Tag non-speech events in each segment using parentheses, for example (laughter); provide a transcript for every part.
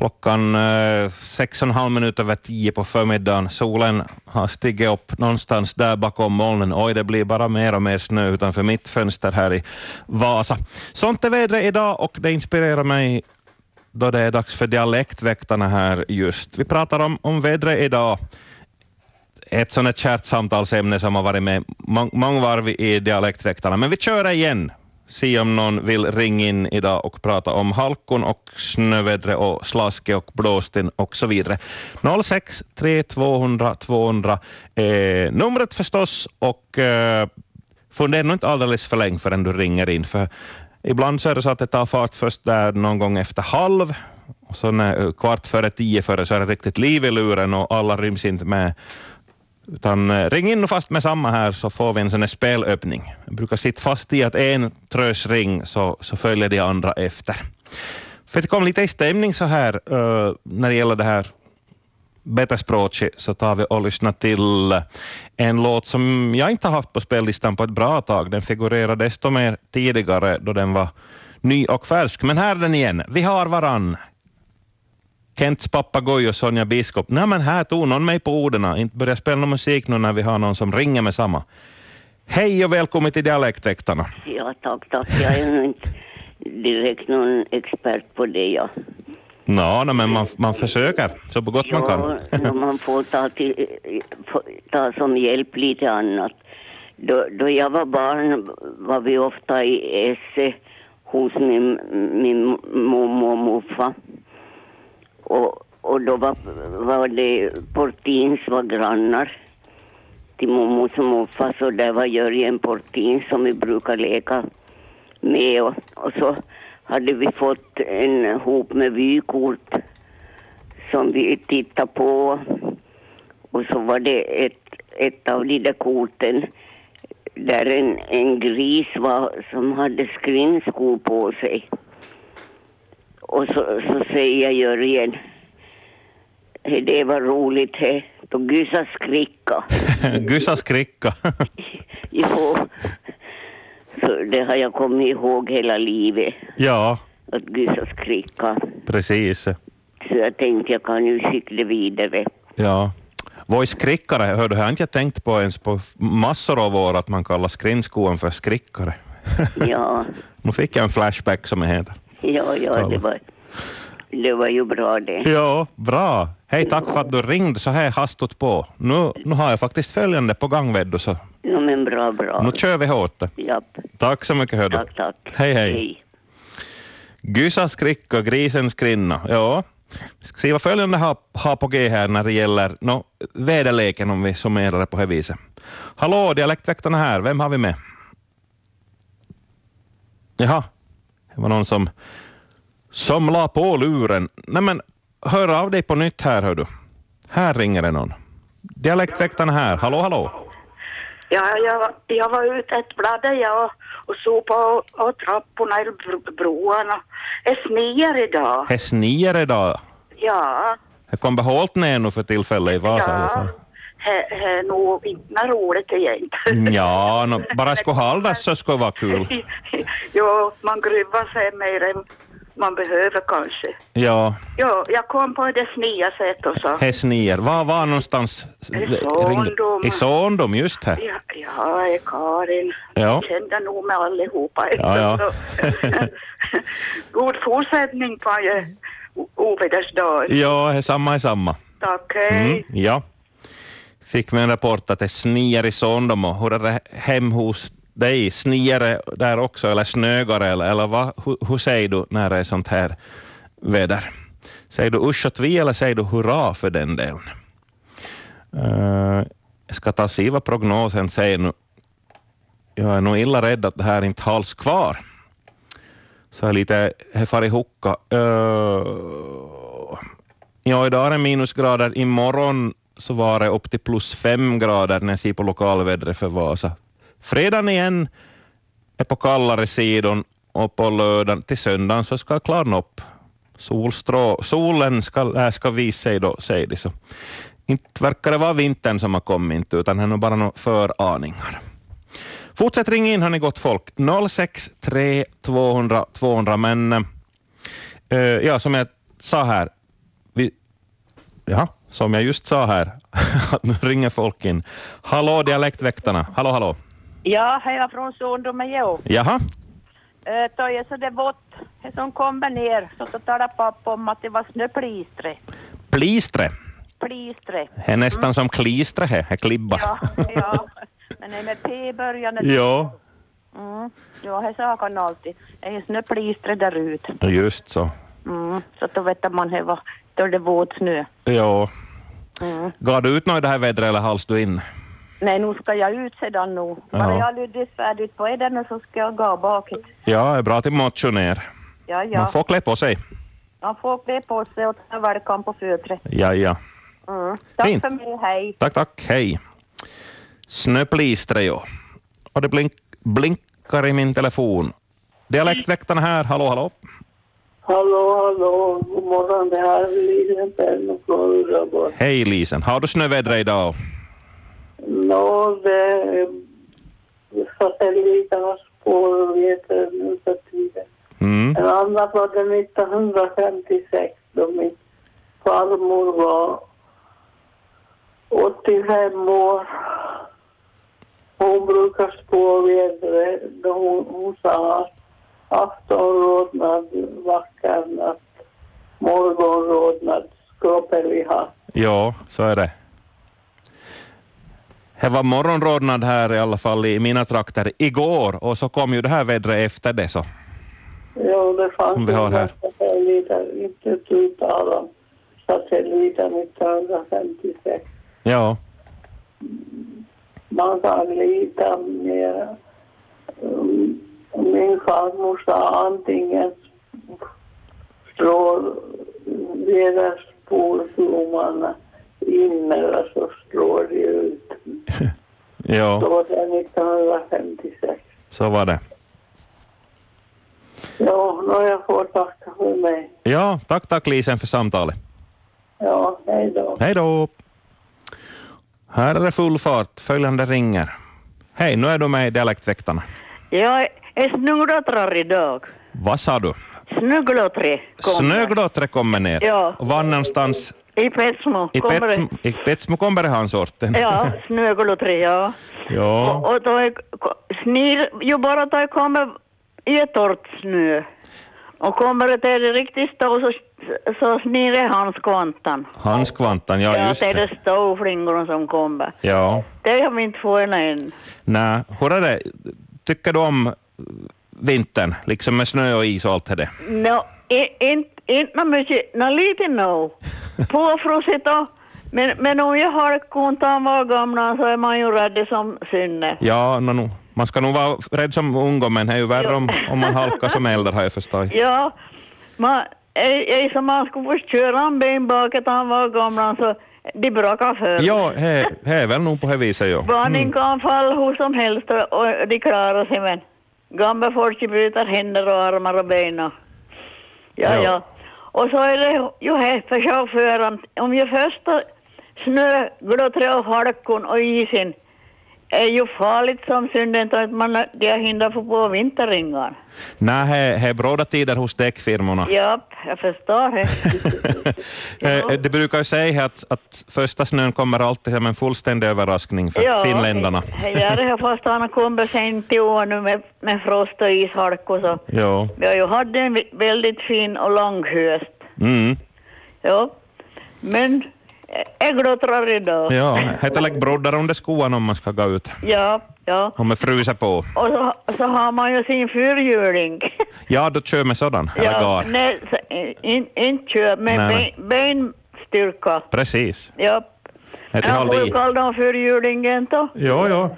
Klockan eh, sex och en halv minut över tio på förmiddagen. Solen har stigit upp någonstans där bakom molnen. Oj, det blir bara mer och mer snö utanför mitt fönster här i Vasa. Sånt är vädret idag och det inspirerar mig då det är dags för Dialektväktarna här just. Vi pratar om, om vädret idag ett sånt här kärt samtalsämne som har varit med mång- mångvarvig i Dialektväktarna. Men vi kör igen. Se om någon vill ringa in idag och prata om halkon och snövädret och slaske och blåsten och så vidare. 06 3200 200 eh, numret förstås och eh, fundera nog inte alldeles för länge förrän du ringer in. För ibland så är det så att det tar fart först där någon gång efter halv och så när, eh, kvart före tio före så är det riktigt liv i luren och alla ryms inte med utan eh, ring in och fast med samma här så får vi en sån här spelöppning. Jag brukar sitta fast i att en trös ring så, så följer de andra efter. För att komma lite i stämning så här eh, när det gäller det här Betespråket så tar vi och lyssnar till eh, en låt som jag inte har haft på spellistan på ett bra tag. Den figurerade desto mer tidigare då den var ny och färsk. Men här är den igen. Vi har varann. Kents papegoja och Sonja Biskop. Nej, men här tog någon mig på orden. Inte börja spela någon musik nu när vi har någon som ringer med samma. Hej och välkommen till Dialektväktarna. Ja, tack, tack. Jag är nog inte direkt någon expert på det. Ja. Nå, no, men man, man försöker så gott man kan. Ja, när man får ta, till, få- ta som hjälp lite annat. Då, då jag var barn var vi ofta i Esse hos min, min mormor och morfar. Och, och då var, var det Portins var grannar till mormors och morfar så där var Jörgen Portin som vi brukar leka med och, och så hade vi fått en hop med vykort som vi tittade på och så var det ett, ett av de där korten där en, en gris var som hade skrinskor på sig. Och så, så säger Jörgen, "Hej, det var roligt he, då Gysa skricka. (laughs) Gussa skricka. Jo, så det har jag kommit ihåg hela livet, ja, att Gysa skrika. precis. Så jag tänkte jag kan ju skicka (laughs) det vidare. Ja. Voi skrickare, hör du, har jag inte tänkt på ens på massor av år att man kallar skrinskoan för skrickare. Ja, nu fick jag en flashback som det heter. ja, ja, det var, det var ju bra det. Ja, bra. Hej, tack för att du ringde så här hastigt på. Nu, nu har jag faktiskt följande på gång, vet du, så Ja, men bra, bra. nu kör vi hårt. Japp, Tack så mycket, hördu. tack, tack. Hej, hej. Gysa skrick och grisen skrinna. Ja. Vi ska se vad följande har, har på G här när det gäller no, väderleken om vi summerar det på det här viset. Hallå, dialektväktarna här. Vem har vi med? Jaha, det var någon som, som la på luren. Nej men, hör av dig på nytt här hör du. Här ringer det någon. Dialektväktarna här. Hallå, hallå. Ja, jag, jag var ute ett bladde jag och, och såg på och trapporna eller bro- broarna. Det snöar idag. Det sniar idag. Ja, Det kom behållt ner nu för tillfället i Vasa i alla fall. ja. Det är nog inte roligt egentligen. Ja, no, bara skulle hållas så skulle vara kul. (laughs) jo, man gruvar sig mer än man behöver kanske. Ja, Jo, jag kom på det snea sätt och så. Hesnier. Var var någonstans? Sondom. I Sondom, just här. Ja, ja, det är Karin. Ja. Jag kände nog med allihopa. Ja, (laughs) ja. God fortsättning på eh, o- ovädersdagen. Ja, det är samma är samma. Tack, hej. Mm, ja. Fick vi en rapport att det sniar i Sondom och hur är det hem hos dig? Sniar det där också eller snögar eller, eller vad? Hur, hur säger du när det är sånt här väder? Säger du usch och tvi eller säger du hurra för den delen? Eh, jag ska ta och se vad prognosen säger nu. Jag är nog illa rädd att det här inte hålls kvar. Så här lite, här far i hocka. Eh, Ja, idag är det minusgrader. Imorgon så var det upp till plus fem grader när jag ser på lokalvädret för Vasa. Fredagen igen är på kallare sidan och på lördagen till söndagen så ska det klarna upp. Solstrå, solen ska, äh, ska visa sig då, säger de så. Inte verkar det vara vintern som har kommit, inte, utan det är nog bara några föraningar. Fortsätt ringa in, hörni gott folk. 063 200 200, men eh, Eh, ja, som jag sa här, Ja, som jag just sa här, (laughs) att nu ringer folk in. Hallå dialektväktarna, hallå hallå. Ja, hej var från Sundumen jo. Jaha, Eh, Då är så det vått. Det som kommer ner så, så talar pappa om att det var snöplistre. plistre. Plistre. Det är nästan som klistre här, det klibbar. Ja, ja. Mm. Men det är med P i början. (laughs) Ja, Mm. Ja, det sa han alltid. Det är snöplistre där ute. just så. Mm. Så då vet man hur var- då är det våt snö. Ja. Mm. Går du ut nu i det här vädret eller hals du in? Nej, nu ska jag ut sedan nu. Bara Ja. jag lyder färdigt på Eden så ska jag gå bakåt. Ja, är bra till motionär. Ja, Man ja. får klä på sig. Man får klä på sig och ta välkommen på fötret. Ja, ja. Mm. Tack Fint. för mig, hej. Tack, tack, hej. Snöplistre, jo. Och det blink, blinkar i min telefon. Dialektväktarna här, hallå, hallå. Hallå, hallå, god morgon. Det här är Lilian Perno från Uraborg. Hej Lisen, har du snövädret idag? Nå, det är satelliternas spår och veter nu för tiden. Mm. En annan var det 1956 då min farmor var 85 år. Hon brukar spå vädret då hon, hon sa att afton rodnad vacker natt, morgon rodnad skroppen vi har. Ja, så är det. Det var morgonrodnad här i alla fall i mina trakter igår och så kom ju det här vädret efter det. så. Jo, det fanns Som vi har här. satelliter, inte tutal om satelliter 1956. Ja, man kan lita mer. Mm, Min farmor sa antingen slår deras spårdomarna alltså in eller så slår de ut. Då ja, var det 1956. så var det. Ja, nu jag får tacka för mig. Ja, tack, tack Lisen för samtalet. Ja, hej då. Hej då! Här är det full fart. Följande ringer. Hej, nu är du med i Dialektväktarna. Jag är snöglottrar idag. Vad sa du? Snöglottri Snöglottret kommer ner. Ja. Och var någonstans? I Petsmo. I kommer- Petsmo, i Petsmo kommer det hans orten. Ja, snöglottri, ja. (laughs) ja. Och då är, snir, ju bara då jag kommer i ett torrt snö. Och kommer det till det riktigt stå så, så snirrar hans kvantan. Handskvantan, ja just det är det. det ståflingorna som kommer. Ja. Det har vi inte fått än. Nä, hur är det? Tycker du om vintern, liksom med snö och is och allt det där? No, i- inte inte nå mycket, nå lite nog. Påfruset då. Men, men om jag har kontan var gamla så är man ju rädd som synne. Ja, nå, nå. man ska nog vara rädd som ung, men det är ju värre om, om man halkar som äldre har jag förstått. Ja, man, ej, ej som man skulle få köra en bil bakåt han var gamla så de brakade för. Ja, det det är väl nog på det viset, ja. Barnen kan falla hur som helst och, och de klarar sig men gamla folk bryter händer och armar och ben och ja, Ja. ja. Och så är det ju här för chauffören, om ju första snöglottret och halkon och isen är ju farligt som synden tar att man de hinner få på vinterringar. Nej, det- det är bråda tider hos däckfirmorna. Ja, jag förstår det. Eh, Det brukar ju säga att, att första snön kommer alltid som en fullständig överraskning för ja, finländarna. Jag gör det här fast han kommer sent i år nu med, med frost och ishalkor så. Ja. Vi har ju haft en vä- väldigt fin och lång höst. Mm. Ja. Men eh, jag glottrar idag. Ja, heter lägg broddar under skoan om man ska gå ut. ja. ja. Om man fryser på. Och så, så har man ju sin fyrhjuling. Ja, då kör med sådan. Eller gar. nej, så, eh, in, inte köp, men Nej, ben, benstyrka. Precis. Ja. Heter Jag halv i. brukar kalla dem fyrhjulingen då. Mm, Ja, ja.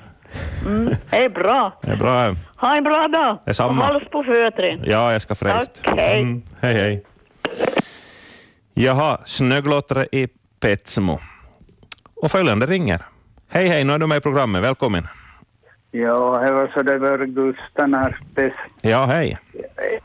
Det är bra. Det är bra. Ha en bra dag. Detsamma. Och hålls på fötren. Ja, jag ska frälst. Tack, hej. hej, hej. Jaha, snöglottare i Petsmo. Och följande ringer. Hej, hej, nu är du med i programmet. Välkommen. Ja, det var så det var Gusten Arpes. Ja, hej.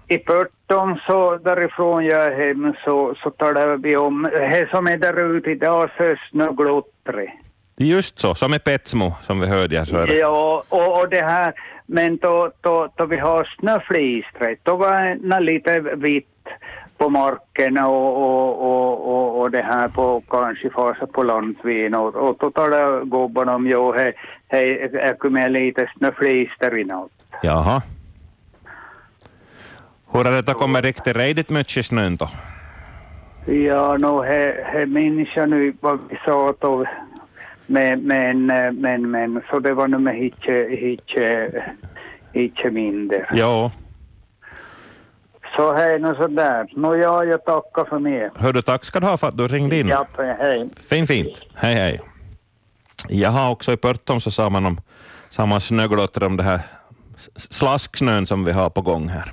I Pörton så därifrån jag är hem så, så talar vi om det som är där ute idag så är snöglottret. Just så, som i Petsmo, som vi hörde här. Så är det. Ja, och, och det här, men då, då, då vi har snöflistret, då var det nå lite vitt på marken och, och, och, och, och, och det här på kanske fasa på landsvägen och, och då talade gubben om jo, hej, hej, jag kommer lite snöflister i natt. Jaha. Hur har det kommit riktigt redigt mycket snön då? Ja, nu no he, he minns jag nu vad vi sa då. Men, men, eh, men, men, så det var nog med hitche, hitche, hitche mindre. Jo. Så hej, nu sådär. Nå No ja, jag tackar för mig. Hör du, tack ska du ha för att du ringde in. Ja, hej. Fin, fint. Hej, hej. Jaha, också i Pörtom så sa man om samma snöglotter om det här s- slasksnön som vi har på gång här.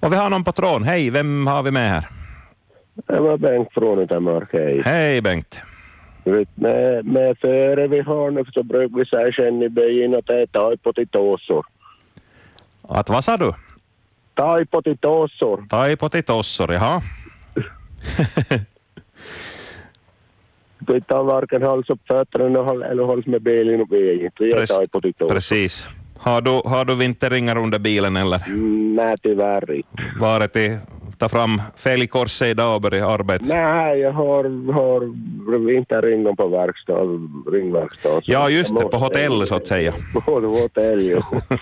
Och vi har någon på tråden. Hej, vem har vi med här? Det var Bengt från Utanmörk, hej. Hej Bengt. Du vet, Med, med före vi har nu så brukar vi säga sen i byn att det är taipotitosor. Att vad sa du? Taipotitosor. Taipotitossor, jaha. Pitää varken hålls upp fötterna och håll- eller hålls med bilen och vägen. Det är Pres- taipotitosor. Precis. Har du, har du vinterringar under bilen eller? Nej, Mm, tyvärr inte. Varit i, ta fram fälgkorset idag och börja arbeta? Nej, jag har, har vinterringon på verkstad, ringverkstad. Ja, just det, på hotell så att säga. På hotell, jo. (laughs)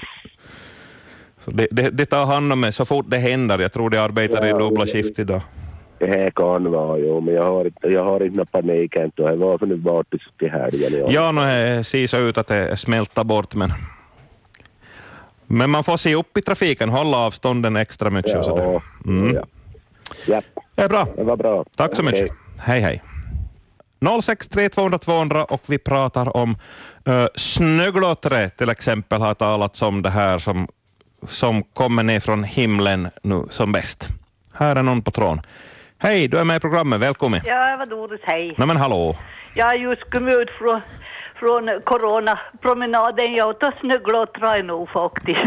Det, det, det tar hand om mig så fort det händer. Jag tror de arbetar i Ja, dubbla det- skift idag. Det här kan vara, jo, men jag har inte, jag har inte någon panik än. Det var för nu vart det till helgen. jag- Ja, nu är- ser så ut att det smälter bort, men... Men man får se upp i trafiken, hålla avstånden extra mycket och sådär. Ja, Mm. ja. ja, Det är bra. det var bra. Tack så mycket. Okej. Hej, hej. 063 200 200 och vi pratar om uh, snöglottre till exempel har talats om det här som, som kommer ner från himlen nu som bäst. Här är någon på tråden. Hej, du är med i programmet, välkommen. Ja, jag var Doris, hej. Nej men hallå. Jag har just kommit ut från, från coronapromenaden. Jag tar snöglottrade nu faktiskt.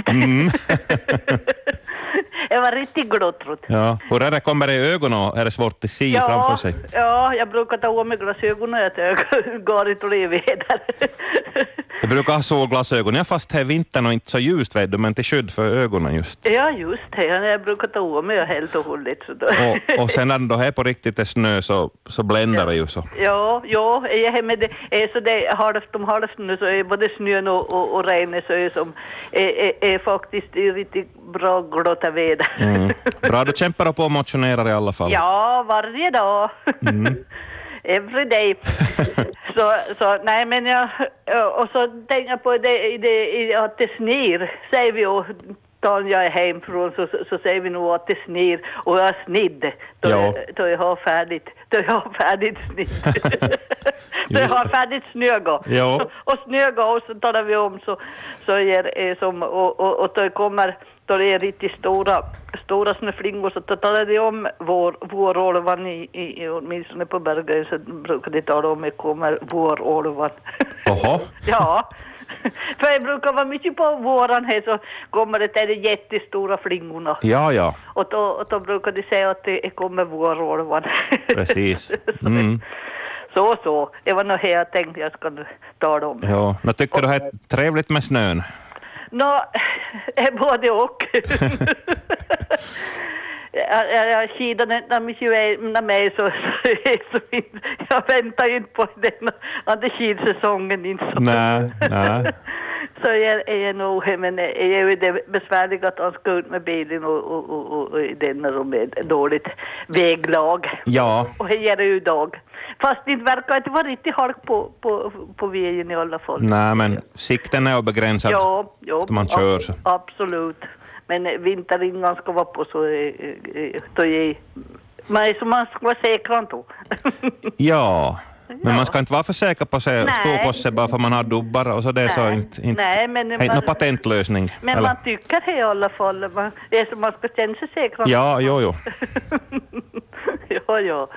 (laughs) Mm. jag var riktigt glottrad. Ja. Hur är det, kommer det i ögonen och är det svårt att se framför sig? ja, jag brukar ta av mig glasögonen ett öga, (laughs) går inte levväder. Jag brukar ha solglasögon, ja fast här vintern och inte så ljust vet du, men till skydd för ögonen just. ja, just det. Jag brukar ta av mig helt och hållet. Så då. Och, och sen när det är på riktigt är snö så, så bländar det ju så. (laughs) Ja, ja, är jag hemma det, eh, så det är halvt om halvt nu så är både snön och, och, och regnet så är som är, är, är faktiskt i riktigt bra glotta väder. Mm. Bra, du kämpar på och motionerar i alla fall. Mm. Ja, varje dag. (laughs) Every (laughs) day. så, så, nej men jag, och så tänker jag på det, i det, i att det snir, säger vi ju. Dagen jag är hemifrån så, så, så säger vi nog att det snir och jag snidde då, Ja. jag, då jag har färdigt, då jag har färdigt snidd. då jag Just har färdigt snögå. Ja. (laughs) Och snögå och så talar vi om så, så är, är som, och, och, och då kommer, då det är riktigt stora, stora snöflingor så då talar de om vår, vårolvan i, i, i, åtminstone på Bergen så brukar de tala om det kommer vårolvan. (laughs) Jaha. ja. (laughs) För det brukar vara mycket på våren här så kommer det till de jättestora flingorna. Ja, ja, Och då, och då brukar de säga att det kommer vårolvan. (laughs) precis. Mm. Så, så. Det var nog här jag tänkte jag skulle tala om. Ja. Nå, tycker du det är trevligt med snön? Nå, (laughs) eh, (laughs) både och. jag, jag, jag skidade inte när mycket med mig så, så, så jag väntar ju inte på den andra skidsäsongen. Inte så. Nej, nej. (laughs) Så jag är nog, men jag är ju det besvärliga att han ska ut med bilen och, och, och, och, och i den när de är dåligt väglag. Ja, Och här är det ju idag. Fast det verkar inte vara riktigt halk på, på, på vägen i alla fall. nej, men sikten är ju begränsad. Ja, ja. Att man kör så. ab- Absolut. Men eh, vinterringan ska vara på så eh, eh, då är man är så man ska vara säker då. Ja. Men man ska inte vara för säker på sig, Nej. stå på sig bara för man har dubbar och så det är så Nej. inte, inte, Nej, men inte man- någon patentlösning. Men eller? man tycker det i alla fall. Man, det är så man ska känna sig säker. Ja, jo, jo. (laughs) ja, ja.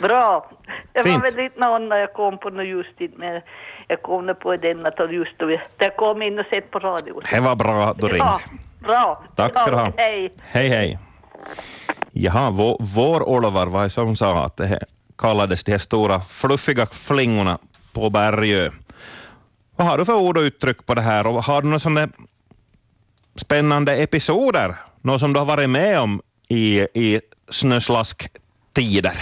Bra. Jag Fint. var väldigt någon när jag kom på något just dit, men jag kom nu på den att jag just då, där jag kom in och sett på radion. Det var bra att du ringde. Ja, bra. Tack ska du ha. Ja, Hej. Hej, hej. Jaha, vår, vår Olvar var det som sa att det här kallades de här stora fluffiga flingorna på Bergö. Vad har du för ord och uttryck på det här och har du några sådana spännande episoder? Något som du har varit med om i, i snöslasktider?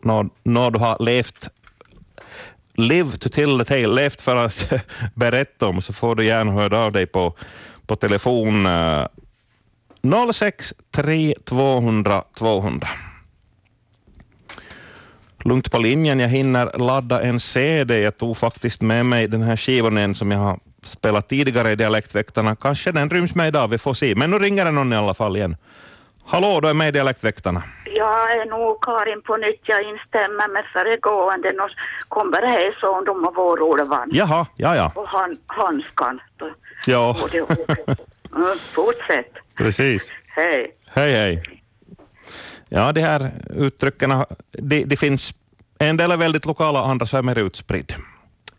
när, när du har levt liv to till the tale, levt för att (laughs) berätta om, så får du gärna höra av dig på, på telefon eh, 063 200 200. Lugnt på linjen, jag hinner ladda en CD. Jag tog faktiskt med mig den här skivan igen som jag har spelat tidigare i Dialektväktarna. Kanske den ryms med idag, vi får se. Men nu ringer det någon i alla fall igen. Hallå, du är med i Dialektväktarna. Jag är nog Karin på nytt. Jag instämmer med föregående. Nu kommer det här så om de har vårorvan. Jaha, ja, ja. Och han, handskan. Ja, Och det, Mm, fortsätt. precis. Hej. Hej, hej. Ja, de här uttrycken de, de finns. En del är väldigt lokala, andra så är mer utspridd.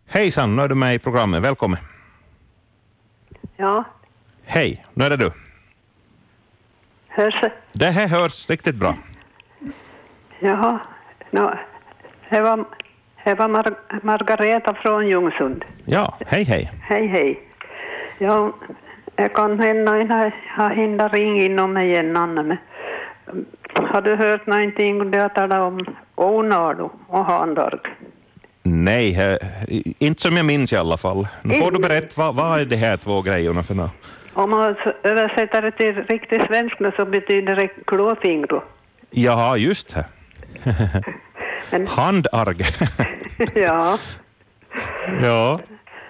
Hejsan, nu är du med i programmet. Välkommen. Ja, Hej, nu är det du. hörs Det här hörs riktigt bra. Jaha. No, det var, det var Mar Margareta från Ljungsund. Ja, hej, hej. Hej, hej. Ja, jag kan hända innan jag hinner ringa inom mig igen, Anna. Men, mm, har du hört någonting om det jag talade om Onardo och Handorg? Nej, he- inte som jag minns i alla fall. Nu får du berätta, vad, vad är de här två grejerna för något? Om man s- översätter det till riktig svenska så betyder det klåfingro. (laughs) Jaha, just det. Handarg. (laughs) ja, ja.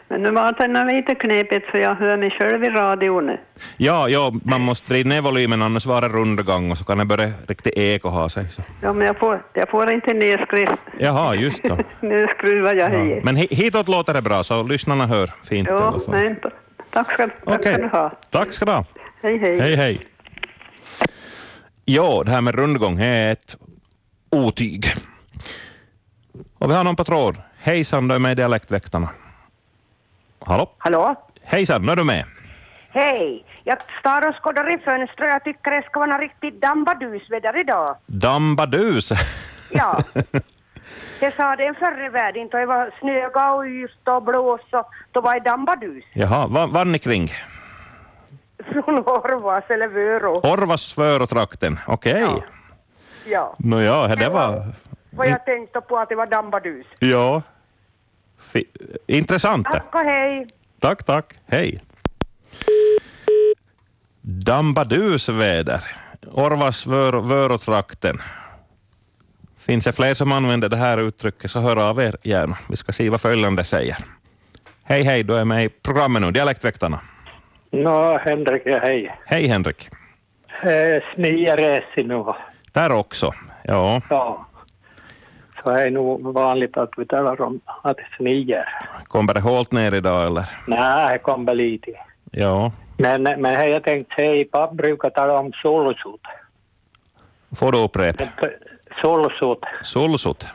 men nu var det nog lite knepigt för jag hör mig själv i radion. nu. Ja, ja, man måste vrida ner volymen annars var det rundgång och så kan det börja riktigt eko ha sig. Så. Ja, men jag får, jag får inte nedskrift. Jaha, just det. Nu skruvar jag Ja. i. Men hi- hitåt låter det bra, så lyssnarna hör fint i alla Jo, fall. men t- tack ska, tack ska du ha. Tack ska du ha. Hej, hej. Hej, hej. Ja, det här med rundgång är ett otyg. Och vi har någon på tråd. Hejsan, du är med i Dialektväktarna. Hallå? Hallå? Hejsan, nu är du med. Hej! Jag står och skådar i fönstret. Jag tycker det ska vara riktigt dambadusväder idag. Dambadus. (laughs) Ja. Det sa den förr i världen då det var snöga och yst och blås och då var det dambadus. (laughs) Jaha, var, var ni kring? Från Orvas eller Vörå. Orvas förotrakten. Okej. Ja. Nå ja, det var... Vad jag tänkte på att det var dambadus. Ja. Fi- Intressant. det. Tack och hej! Tack, tack. Hej. Dambadusväder. Orvas vör, vörotrakten. Finns det fler som använder det här uttrycket så hör av er gärna. Vi ska se vad följande säger. Hej, hej, du är med i programmet nu, Dialektväktarna. No, Henrik, ja hej. Hej Henrik. Eh, Snieresi nu. Där också. Ja, Ja. Så är nog vanligt att vi talar om att snier. kommer det hårt ner idag eller? Nej, det kommer lite. Ja. Men, men här jag tänkte säga, pappa brukar tala om solsot. Får du upprepa? Solsot. Solsot.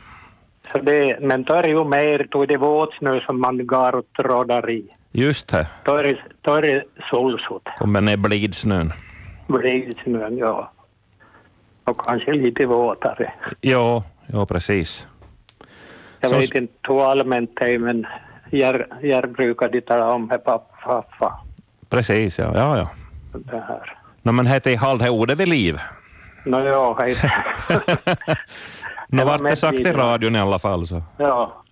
Så det, men då är det ju mer då är det våtsnö som man går och trådar i. Just det, Då är det- då är det solsot, kommer ner blidsnön. blidsnön, ja. Och kanske lite våtare. Ja, ja precis. Jag Så- vet inte hur allmänt det är, men jag, jag brukade tala om det, pappa, pappa, Precis, ja, ja. ja. det här. No, men hette i halv det ordet vid liv. Nå, ja, hej. Nu vart det med sagt i vidare. radion i alla fall. Så. ja.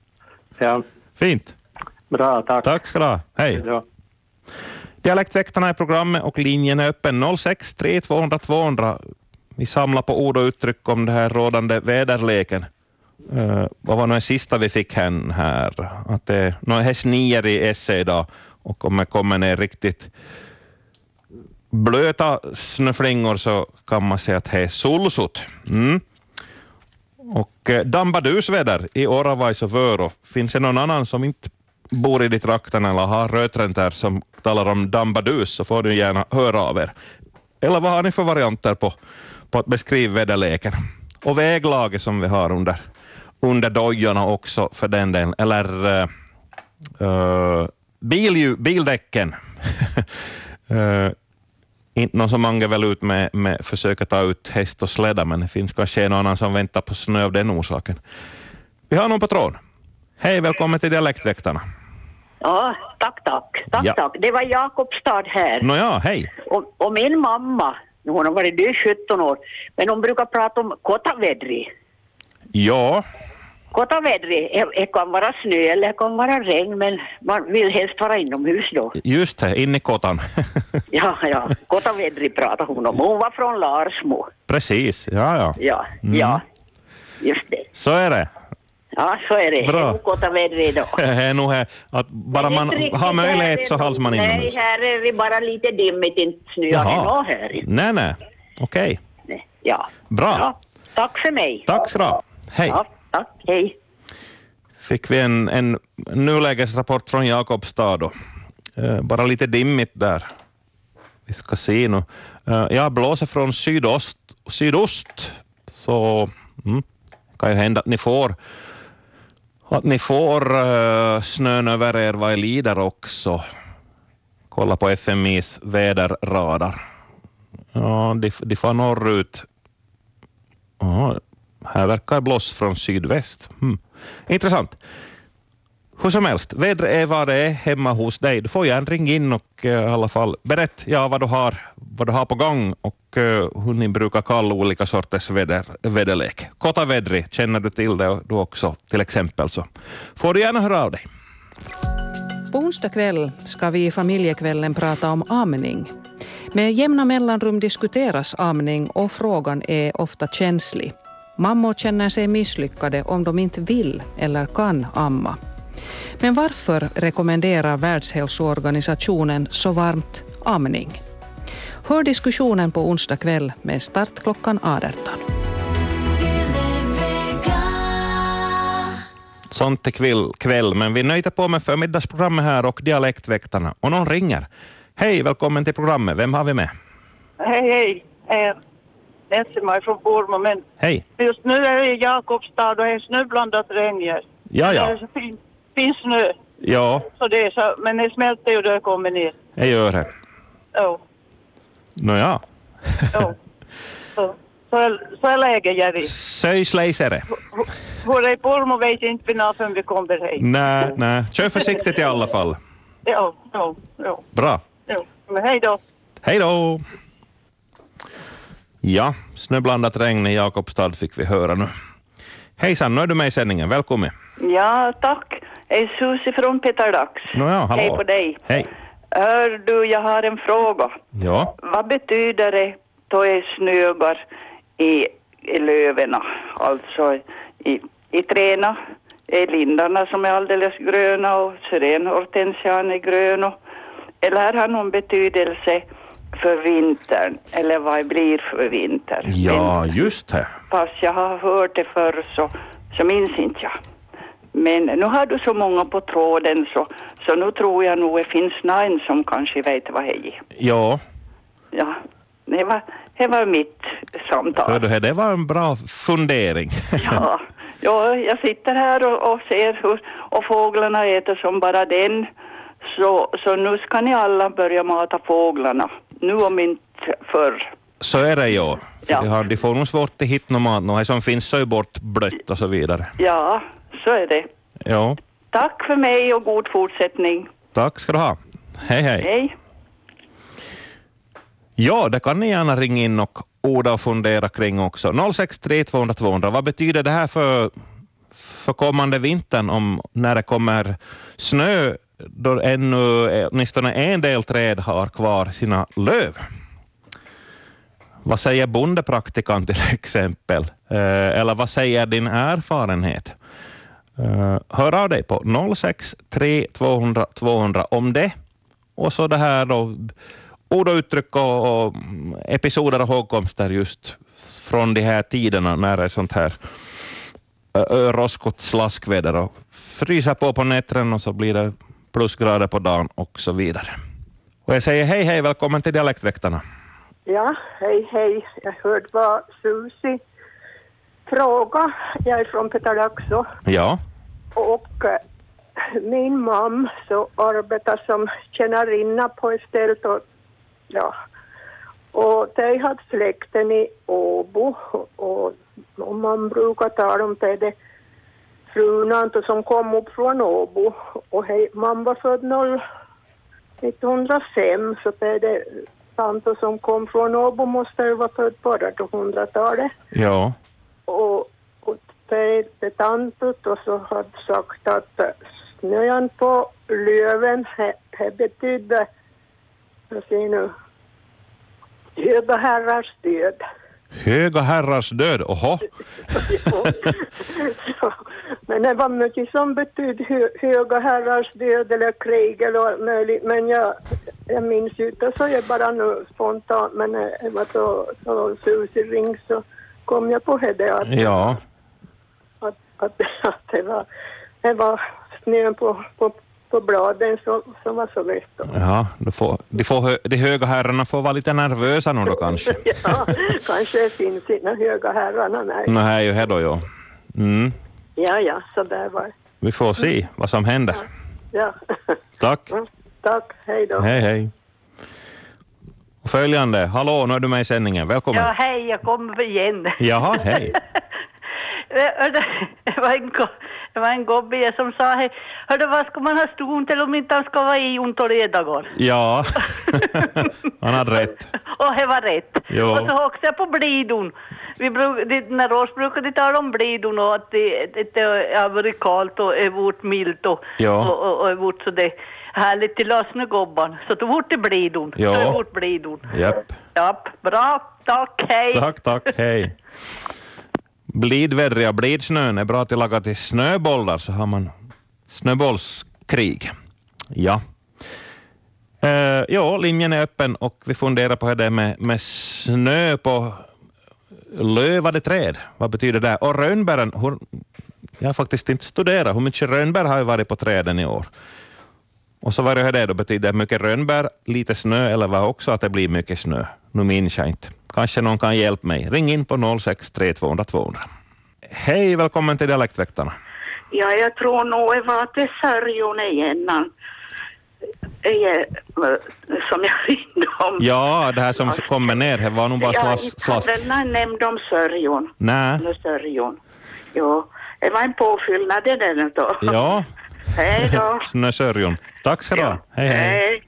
ja. Fint. Bra, tack. Tack ska du ha. Hej. Ja. Dialektväktarna är programmet och linjen är öppen 06 3 200 200. Vi samlar på ord och uttryck om det här rådande väderleken. Eh, vad var nu det sista vi fick hän här? Att det nu är snier i SE idag och om det kommer ner riktigt blöta snöflingor så kan man säga att det är solsot. Mm. Och eh, dambadusväder i Oravais och Vörå. Finns det någon annan som inte bor i de trakterna eller har rötrent där som talar om dambadus så får du gärna höra av er. Eller vad har ni för varianter på, på att beskriva väderleken? Och väglaget som vi har under, under dojorna också för den delen. Eller eh, eh, bilju, bildäcken. (laughs) Eh, inte någon som anger väl ut med, med försöka ta ut häst och släda, men det finns kanske en annan som väntar på snö av den orsaken. Vi har någon på tråden. Hej, välkommen till Dialektväktarna. Ja, tack, tack. tack, Ja. tack. Det var Jakobstad här. Nåja, hej. Och, och min mamma, nu hon har varit död 17 år, men hon brukar prata om kotavedri. Ja, Gott och vädret. Det kan vara snö eller det kan vara regn, men man vill helst vara inomhus (laughs) då. just det, in i kottan. Ja, ja. Gott och vädret pratade hon om. Hon var från Larsmo. (laughs) Precis, ja ja. Mm. Ja, ja. Just det. Så är det. Ja, så är det. Bra. Det är Gott och vädret då. (laughs) Det är nog här att bara man Inte riktigt. har möjlighet så Här är- hålls man inomhus. Nej, här är det bara lite dimmigt, inte snöar det nå här. Nej, nej. Okej. Ja. Bra. Ja, tack för mig. Tack ska du ha. Hej. Ja, tack. Hej. Fick vi en, en nulägesrapport från Jakobstad då. Eh, Bara lite dimmigt där. Vi ska se nu. Eh, Ja, blåser från sydost, sydost. Så mm, kan ju hända att ni får att ni får eh, snön över er vad det lider också. Kolla på FMIs väderradar. Ja, de, de far norrut. Ja, här verkar blås från sydväst. Hmm. Intressant. Hur som helst, vädret är vad det är hemma hos dig. Du får gärna ringa in och eh, i alla fall berätta ja, vad, du har, vad du har på gång och eh, hur ni brukar kalla olika sorters väder, väderlek. Kota vädri, känner du till det du också till exempel så får du gärna höra av dig. På onsdag kväll ska vi i familjekvällen prata om amning. Med jämna mellanrum diskuteras amning och frågan är ofta känslig. Mammor känner sig misslyckade om de inte vill eller kan amma. Men varför rekommenderar Världshälsoorganisationen så varmt amning? Hör diskussionen på onsdag kväll med start klockan 18. Sånt är kväll, kväll, men vi nöjde på med förmiddagsprogrammet här och dialektväktarna och någon ringer. Hej, välkommen till programmet. Vem har vi med? Hej, hej. Eh, Netsimaj från Pormo, men Hej. just nu är det i Jakobstad och det är snöblandat regn. här. Ja, ja. Det är så fin, fin snö, Ja, så det är så, men det smälter ju då det kommer ner. jag gör det. Ja, Nåja, så, så, är, så är läget, Jerry. söjsläsare. Hur det är i Pormo vet jag inte vi när förrän vi kommer hit. Nej, nej. Kör försiktigt i alla fall. Ja, ja, ja. Bra. ja. Men hej då. Hej då! Ja, snöblandat regn i Jakobstad fick vi höra nu. Hejsan, nu är du med i sändningen. Välkommen. Ja, tack. Det är Susie från Peter Dax. Nåja, hallå. Hej på dig. Hej. Hör du, jag har en fråga. Ja. Vad betyder det då det snögar i, i löven? Alltså i, i träna. Det är lindarna som är alldeles gröna och syrenhortensian är grön. Och, eller har det någon betydelse för vintern? Eller vad det blir för vinter? Ja, just det. Fast jag har hört det förr så, så minns inte jag. Men nu har du så många på tråden så, så nu tror jag nog det finns någon som kanske vet vad det är. Ja, Ja, det var, det var mitt samtal. hör du här, det var en bra fundering. Ja, ja jag sitter här och, och ser hur och fåglarna äter som bara den. Så, så nu ska ni alla börja mata fåglarna. Nu om inte förr. (laughs) Så är det ja. Ja. ja. De får nog svårt att hitta något mat, något som finns så är bort blött och så vidare. Ja, så är det. Ja, Tack för mig och god fortsättning. tack ska du ha. Hej, hej. Hej. Ja, det kan ni gärna ringa in och orda och fundera kring också. 063 200 200, vad betyder det här för, för kommande vintern om, när det kommer snö då ännu eh, åtminstone en del träd har kvar sina löv? Vad säger bondepraktikan till (laughs) exempel? Eh, Eller vad säger din erfarenhet? Eh, Hör av dig på 063 200 200 om det. Och så det här då, ord och uttryck och, och episoder och hågkomster just från de här tiderna när det är sånt här ö, ö, roskigt slaskväder och fryser på på nätterna och så blir det plusgrader på dagen och så vidare. Och jag säger hej, hej, välkommen till Dialektväktarna. Ja, hej hej. Jag hörde vad Susi fråga. Jag är från Petalaxo Ja, och eh, min mamma så arbetar som tjänarinna på ett ställe och, ja. och de hade släkten i Åbo och, och man brukar tala om det, det frunan då som kom upp från Åbo och hej, mamma var född 0 1905 så det är det tanto som kom från Åbo måste ju vara född på 1800-talet. ja, Och, och det tantut och så hade sagt att snön på löven, he- he betydde, jag ser nu, höga herrars död. (laughs) Höga herrars död, oho. Så, men det var mycket som betydde hö, höga herrars död eller krig eller allt möjligt. Men jag, jag minns ju inte så jag bara nu spontant. Men eh, det var så, så Susie ring så kom jag på det att, Ja, att, att, (laughs) att det, var, det var snön på, på, på bladen som, som var så lätt. ja då får, de, får, hö- de höga herrarna får vara lite nervösa nu då kanske. (laughs) ja, kanske det finns inga höga herrarna, nej. Nej, här är ju här då, ja. Mm. Ja, ja, så där var det. Vi får se vad som händer. Ja. Tack. Tack, hej då. Hej, hej. Och följande, hallå, nu är du med i sändningen. Välkommen. Ja, hej, jag kommer igen. Eh, Jaha, (laughs) hej. Det var en, go- det var en gubbe som sa, "Hej, hördu vad ska man ha ston till om inte han ska vara i ont och ledagar? Ja, (laughs) han hade rätt. Och det var rätt. Jo. Och så åkte jag på blidon. Vi bruk, det, när års brukar de tala om blidon och att det, det, det har varit kallt och är vårt milt och, Ja. och, och, och är vårt så det härligt till lösne gubban. Så då vart det blidon. Ja. Så det vart blidon. Japp. Japp, bra, tack, hej. Tack, tack, hej. Blidvädriga blidsnön är bra till att laga till snöbollar, så har man snöbollskrig. Ja. Uh, ja, linjen är öppen och vi funderar på hur det är med, med snö på lövade träd. Vad betyder det? Och rönnbären, hur, jag har faktiskt inte studerat. Hur mycket rönnbär har ju varit på träden i år? Och så var det här det då, betyder det mycket rönnbär, lite snö eller vad också att det blir mycket snö? Nu minns jag inte. Kanske någon kan hjälpa mig. Ring in på 063 200 200. Hej, välkommen till Dialektväktarna. Ja, jag tror nog det var till Sörjon igen. han- eh, Som jag ringde om. Ja, det här som kommer ner, det var nog bara jag slas, slask. hade någon nämnd om Sörjon. Nej. Eller Sörjon. Jo, det var en påfyllnad det där då. Ja, Hej då. snösörjon. Tack ska du ha. Hej, hej. Hej.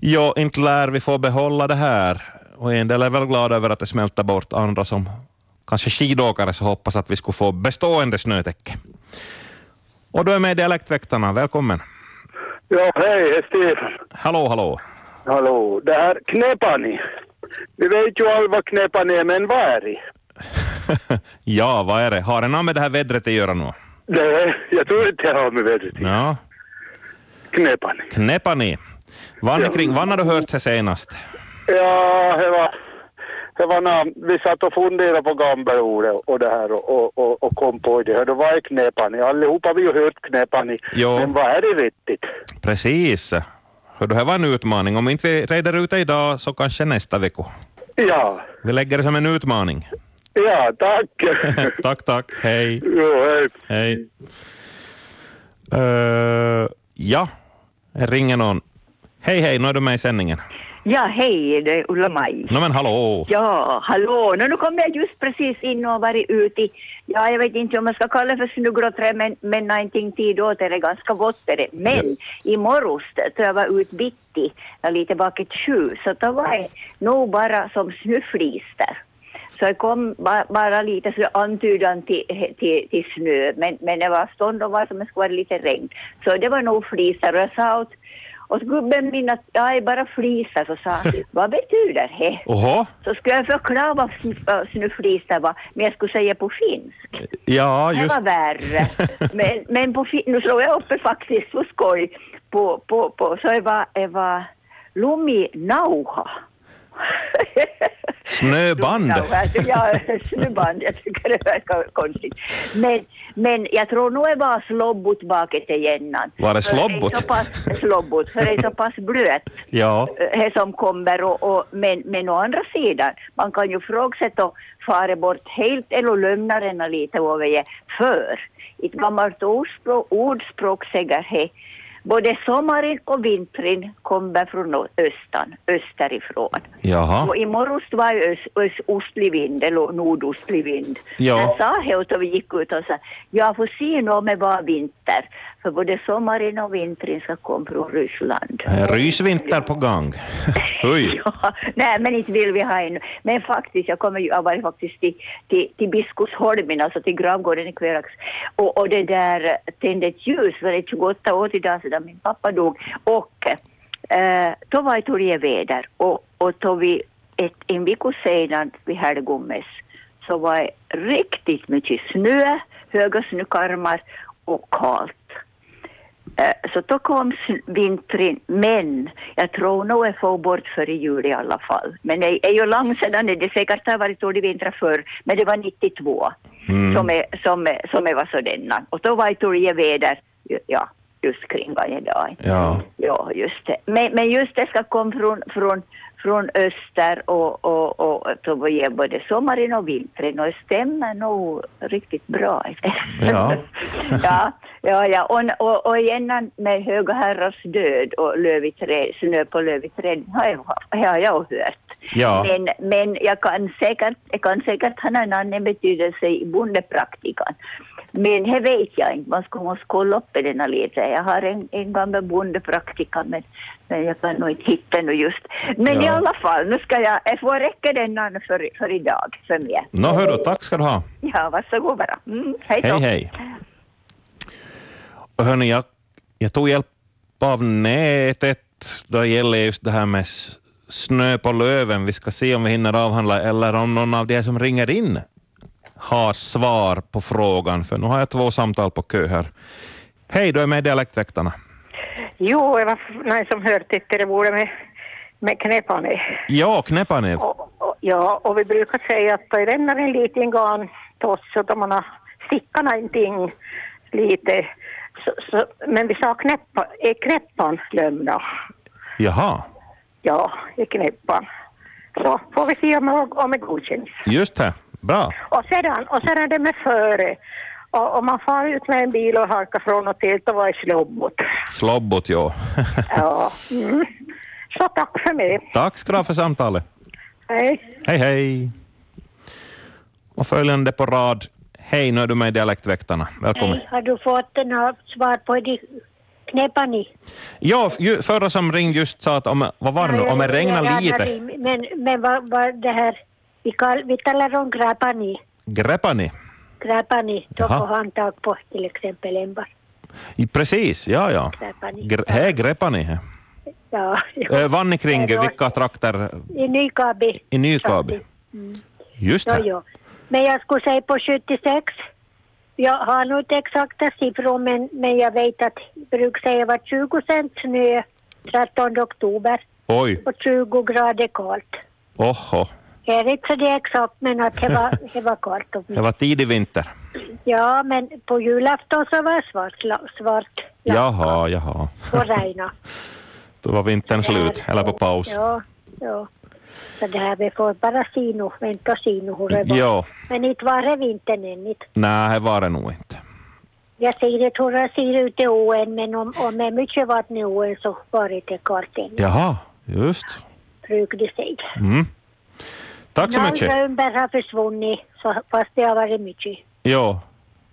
Ja, inte lär vi få behålla det här. Och en del är väl glada över att det smälter bort, andra som kanske skidåkare så hoppas att vi skulle få bestående snötäcke. Och då är med Dialektväktarna, välkommen. Ja, hej, det är Stefan. Hallå, hallå. (laughs) Hallå, det här knepani. Vi vet ju alla vad knepani är, men vad är det? Ja, vad är det? Har det något med det här vädret att göra nu? Nej, jag tror inte jag har med vädret. Ja, Knepani. knäppa ni. Vann kring, vann har du hört det senast? Ja, det var... Det var namn. Vi satt och funderade på gamla ord och- och det här och, och, och, och kom på det. Hörde, vad är knepani? Allihopa har vi ju hört knepani. Jo. Men vad är det vettigt? Precis. Hör du, det här var en utmaning. Om inte vi reder ut det idag så kanske nästa vecka. Ja, Vi lägger det som en utmaning. ja, tack. tack, tack. Hej. Jo, hej. Hej. Eh, ja, Här ringer någon. Hej, hej, nu är du med i sändningen. Ja, hej, det är Ulla-Maj. Nå men hallå! Ja, hallå. Nu, nu kom jag just precis in och varit ute i, ja, jag vet inte om man ska kalla det för snuggråträ, men, men någonting tid åt är det ganska vått är det. Men i morse då jag var ute bitti, ja, lite bakåt sju, så då var det nog bara som snöflis där. Så det kom ba, bara lite så antydan till, till, till snö, men, men det var stånd och var som det skulle vara lite regn. Så det var nog flis där och jag sa åt, åt gubben min att ja, det är bara flisar, så sa han, vad betyder det? Oho, så skulle jag förklara vad sn- vad snöflis det var, men jag skulle säga på finsk. ja det just var (laughs) värre. men, men på fin- nu slog jag upp det faktiskt för skoj. På, på, på, så det var, det var luminauha. snöband. Ja, (laughs) snöband. Jag tycker det verkar konstigt. Men, men jag tror nog det var slobbot bakåt igen. Var det För är slobbot? så pass- Slobbot, för det är så pass blöt Ja, här eh, som kommer. Och, och, men, men å andra sidan, man kan ju fråga sig då, fara bort helt eller lämna denna lite över för. Ett gammalt ordspråk, ordspråk säger det, både sommaren och vintern kommer från o- östan, österifrån. jaha. Och i morgon var det ös- ös- ostlig vind, eller nordostlig vind. Ja. Jag sa det och då vi gick ut och sa, jag får se nu om det var vinter, för både sommaren och vintern ska komma från Ryssland. Eh, Rysvinter på gång. Oj. Ja, (laughs) nej, men inte vill vi ha ännu. Men faktiskt, jag kommer ju, jag var faktiskt till, till, till Biskopsholmen, alltså till gravgården i Kvärax. Och, och det där tände ett ljus, för det är 28 år till dag sedan min pappa dog. Och eh, då var det torgeväder och, och då vi ett, en vecka sedan vid helgommes så var det riktigt mycket snö, höga snökarmar och kallt. Eh, Så då kom s- vintern, men jag tror nog jag får bort före jul i alla fall. Men det är ju långt sedan, nu, det säkert har varit dålig vinter förr, men det var 92 som, är, som, är, som är var sådana. Och då var det dåliga väder, ja, just kring varje dag. Ja. Ja, just det. Men, men just det ska komma från, från, från öster och, och, och då var det både sommaren och vintern och det stämmer nog riktigt bra. Ja. ja, ja, ja. Och, och, och igen med Höga herrars död och Löviträd, snö på Löviträd har jag, har jag hört. Ja. Men, men jag kan säkert, jag kan säkert ha en annan betydelse i bondepraktikan. Men det vet jag inte, man ska måste kolla upp den här lite. Jag har en, en gammal bondepraktika men, men jag kan nog inte hitta den just. Men i Ja. alla fall, nu ska jag, jag får räcka den för, för idag för mig. Nå hörru, tack ska du ha. Ja, varsågod bara. Mm, hej då. Hej, hej. Och hörni, jag, jag tog hjälp av nätet då det gäller just det här med s- snö på löven. Vi ska se om vi hinner avhandla eller om någon av de här som ringer in har svar på frågan, för nu har jag två samtal på kö här. Hej, du är med i Dialektväktarna. Jo, det var någon som hörde tyckte det vore med, med knäpane. Ja, knäppa ner. Och, ja, och vi brukar säga att det rämnar en liten garn till oss så då man har stickat någonting lite. Så, så, men vi sa knäppa, är knäppan lämna? Jaha, Ja, är knäppan. Så får vi se om, om det godkänns. just det. Bra. Och sedan, och sedan det med före. Och, om man far ut med en bil och halkar från och till, då var det slobbot. Slobbot, ja. (laughs) Ja. Mm. Så tack för mig. Tack ska du ha för samtalet. Hej. Hej, hej. Och följande på rad. Hej, nu är du med i Dialektväktarna. Välkommen. Har du fått eh, något svar på de knäppani? Ja, ju, förra som ringde just sa att om, vad var det nu, om det regnar lite, Men, men vad, vad det här, vi, kall, vi talar om grapani. greppar ni? Grapani, då Jaha. får han tag på till exempel en bara. I- Precis, ja, ja. Grapani. Gre- Här greppar ni. här. Ja, Äh, Vann ni kring vilka trakter i Nykabi. i Nykabi? Mm. Just Jo, det. jo. Men jag skulle säga på 76. Jag har nog inte exakta siffror, men, men jag vet att bruk säger var 20 cent snö 13 oktober Oj, och 20 grader kallt. oho. Jag är inte så det är exakt, men att det var, det var (laughs) kallt. Det var tidig vinter. Ja, men på julafton så var det svart, svart Jaha, jaha. (laughs) och regna. Då var vintern slut, eller på paus. Ja, ja. Så det här, vi får bara se nu, vänta och se nu hur det var. Ja, Men inte var det vintern än. Inte. nej, här var det nog inte. Jag ser inte hur det ser ut i åen, men om, om det är mycket vatten i åen så var det inte kallt än, Jaha, just. brukar de säga. Mm. Tack så mycket. Grönbär har försvunnit, så, fast det har varit mycket. Ja.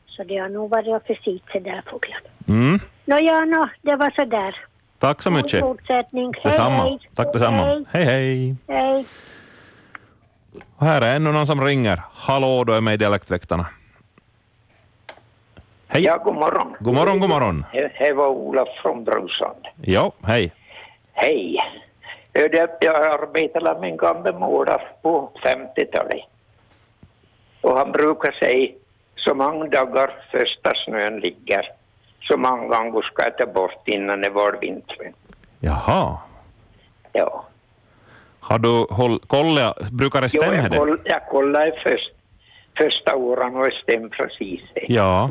Så det har nog varit försiktigt där fåglarna. Mm. Nåja, nå, det var sådär. Tack så mycket. God fortsättning. Hej, Detsamma. hej. Tack detsamma. Hej. Hej, hej. Hej. Och här är ännu någon som ringer. Hallå, du är med i Dialektväktarna. Hej. Ja, god morgon. God morgon, god morgon. Det här var Ola från Brosand. Ja, hej. Hej. Ö, det- Jag arbetade med en gammal målare på 50-talet. Och han brukar säga så många dagar första snön ligger, så många gånger ska jag ta bort innan det var vinter. Jaha. Ja. Har du håll, kolla, brukar det Jo, stämma jag, det? koll, jag kollade först, första åren och det stämde precis det. Ja.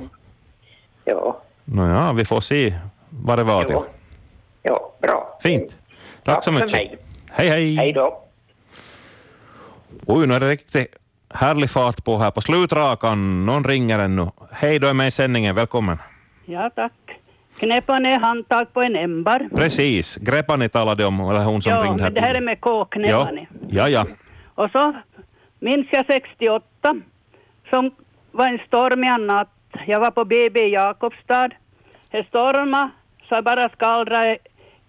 Ja. Nåja, vi får se vad det var till. Ja, bra. Fint. Tack, så mycket. mig. Hej, hej. Hej då. Oj, nu är det riktigt härlig fart på här på slutrakan. Någon ringer ännu. Hej, du är med i sändningen. Välkommen. Ja, tack. Knäppa ner handtag på en ämbar. Precis. Grepani talade om, eller hon som Ja, ringde här. men det här är med K, knäppa ja. ner. ja, ja. Och så minns jag 68 som var en stormig natt. Jag var på BB i Jakobstad. e, Det stormade så jag bara skallrade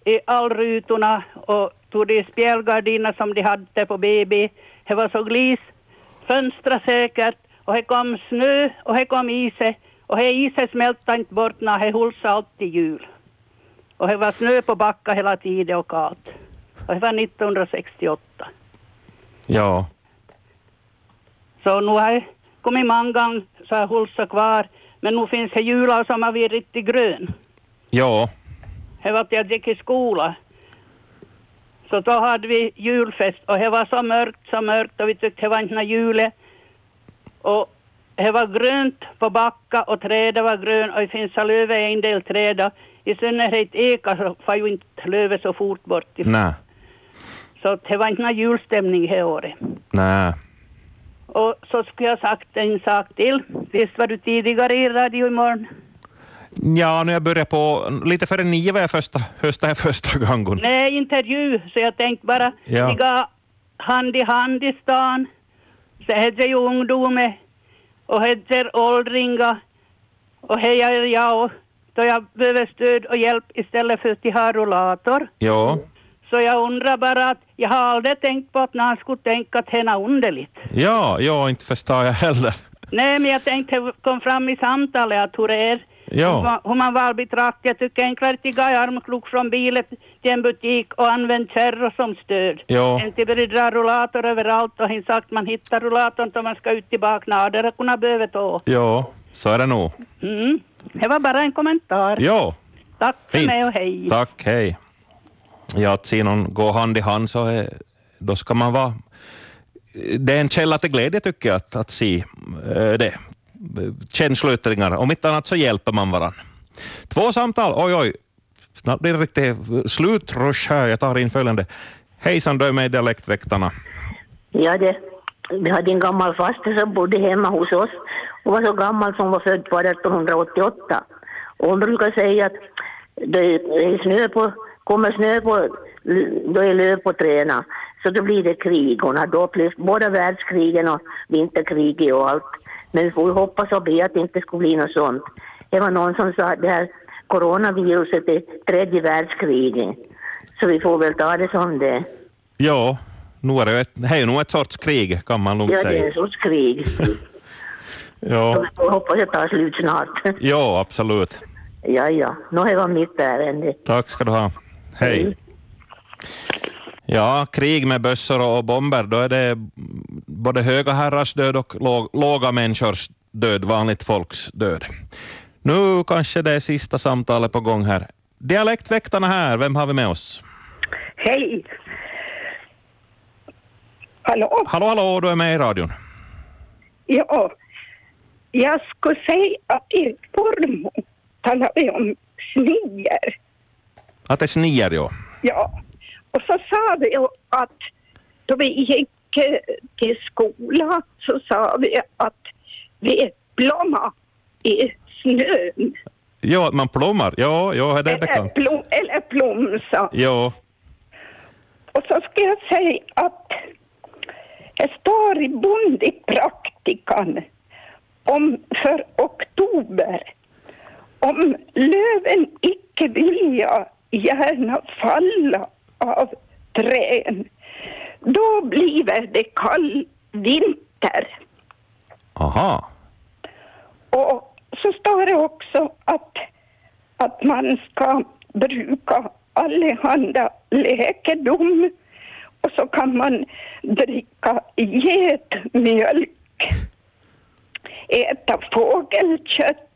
i all rutorna och tog de spjälgardiner som de hade på BB. Det var så glis, fönstra säkert och det kom snö och det kom ise och det iset smälte inte bort när det hulsa alltid jul. Och det var snö på backa hela tiden och kallt. Och det var 1968. Ja. Så nu har jag kommit många gånger så har hulsa kvar. Men nu finns det jular som har varit riktigt grön. Ja. Det var att jag gick i skola. Så då hade vi julfest och det var så mörkt, så mörkt och vi tyckte det var inte någon jule. Och det var grönt på backa och träden var grön och i Finsalöve är en del träd. och I synnerhet eka så far ju inte lövet så fort bort. Nej. Så det var inte någon julstämning det året. Nej. Och så skulle jag sagt en sak till. Visst var du tidigare i radio imorgon? Ja, nu jag börjar på... Lite före nio var jag första, hösta här första (laughs) gången. Nej, intervju. Så jag tänkte bara, Ja. ligga hand i hand i stan. Så hette ju ungdomar och hette åldringar. Och hej är jag och då jag behöver stöd och hjälp istället för att jag har rullator. Ja, Så jag undrar bara att jag har aldrig tänkt på att någon skulle tänka att henne underligt. ja, ja, inte förstår jag heller. Nej, men jag tänkte kom fram i samtalet att hur det är. Ja. Hur man- Hur man var betraktad. Jag tycker enklare att jag i armkrok från bilen till en butik och använd kärror som stöd. Ja. Inte börja dra rullator överallt och hin sagt man hittar rullatorn då man ska ut till baknader och kunna behöva ta. Ja, så är det nog. Mm. Det var bara en kommentar. Ja, Tack för Fint. mig och hej. tack, hej. Ja, att se någon gå hand i hand så är, då ska man vara... Det är en källa till glädje tycker jag att, att se eh, det. Känsloyttringar. Om inte annat så hjälper man varann. Två samtal, oj oj. Snart blir det riktigt slutrush här. Jag tar in följande. Hejsan, du är med i Dialektväktarna. Ja, det, vi hade en gammal faster som bodde hemma hos oss. Hon var så gammal som hon var född på 1888. Och hon brukar säga att det är snö på, kommer snö på, då är löv på träna. Så då blir det krig. Hon hade upplevt både världskrigen och vinterkriget och allt. Men vi får ju hoppas och be att det inte skulle bli något sånt. Det var någon som sa att det här coronaviruset är tredje världskriget. Så vi får väl ta det som det. Ja, nu är det, ju ett, det är ju nog ett sorts krig kan man lugnt Ja, det är säga. en sorts krig. Ja, Jag hoppas det tar slut snart. ja, absolut. Ja, ja. Nå, det var mitt ärende. Tack ska du ha. Hej. Ja, krig med bössor och bomber, då är det både höga herrars död och lå- låga människors död, vanligt folks död. Nu kanske det är sista samtalet på gång här. Dialektväktarna här, vem har vi med oss? Hej! Hallå? Hallå, hallå, du är med i radion. Ja, jag skulle säga att er mormor talade om sniger. Att det sniar, ja. Ja, och så sa vi ju att då vi gick eh, till skolan så sa vi att vi blommar i snön. Ja, att man plommar. Ja, ja, det är bekant. Blom, eller blomsa. Ja, Och så ska jag säga att det står i bondepraktikan om för oktober om löven icke vilja gärna falla av trän då blir det kall vinter. aha. Och så står det också att, att man ska bruka allehanda läkedom och så kan man dricka getmjölk, äta fågelkött,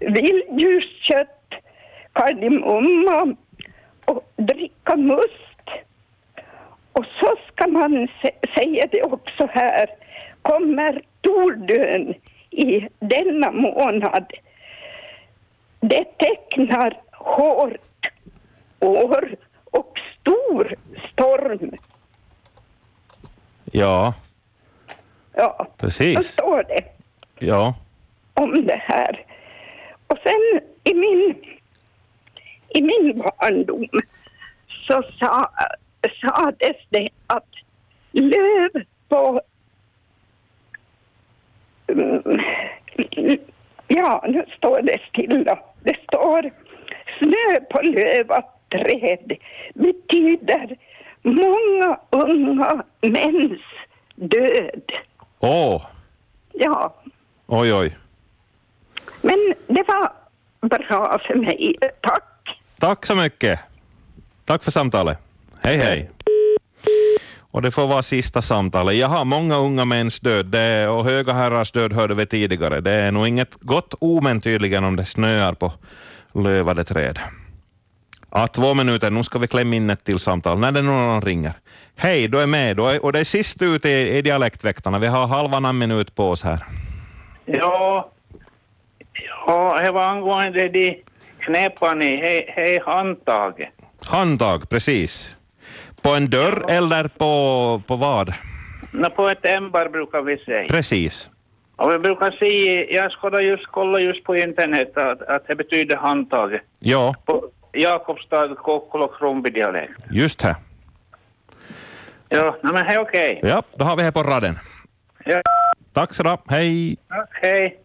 vilddjurskött, kardemumma och dricka must. Och så ska man se- säga det också här, kommer tordön i denna månad. Det tecknar hårt år och stor storm. Ja, Ja, så precis. står det Ja, om det här. Och sen i min, i min barndom så sa, sades det att löv på... Mm, ja, nu står det stilla. Det står snö på lövat träd betyder många unga mäns död. Åh, Ja, oj oj. men det var bra för mig. Tack. Tack så mycket. Tack för samtalet. Hej hej. Och det får vara sista samtalet. Jag har många unga mäns död det, och höga herrars död hörde vi tidigare. Det är nog inget gott omen tydligen om det snöar på lövade träd. Ja, två minuter, nu ska vi klämma in ett till samtal. När det nu någon ringer. Hej, du är med du är, och det är sist ut i, i dialektväktarna. Vi har halvan en minut på oss här. Ja, ja det var angående de knäpparna i hej handtaget. Handtag, precis. På en dörr eller på, på vad? Nå, på ett ämbar brukar vi säga. Precis. Och vi brukar säga, jag skulle just kolla just på internet att, att det betyder handtaget. Ja, På Jakobstad, Kokkola, Krumbi dialekt. just här. Ja, no, men hej okej. Ja, då har vi här på raden. Ja, Tack så du ha. Hej. hej.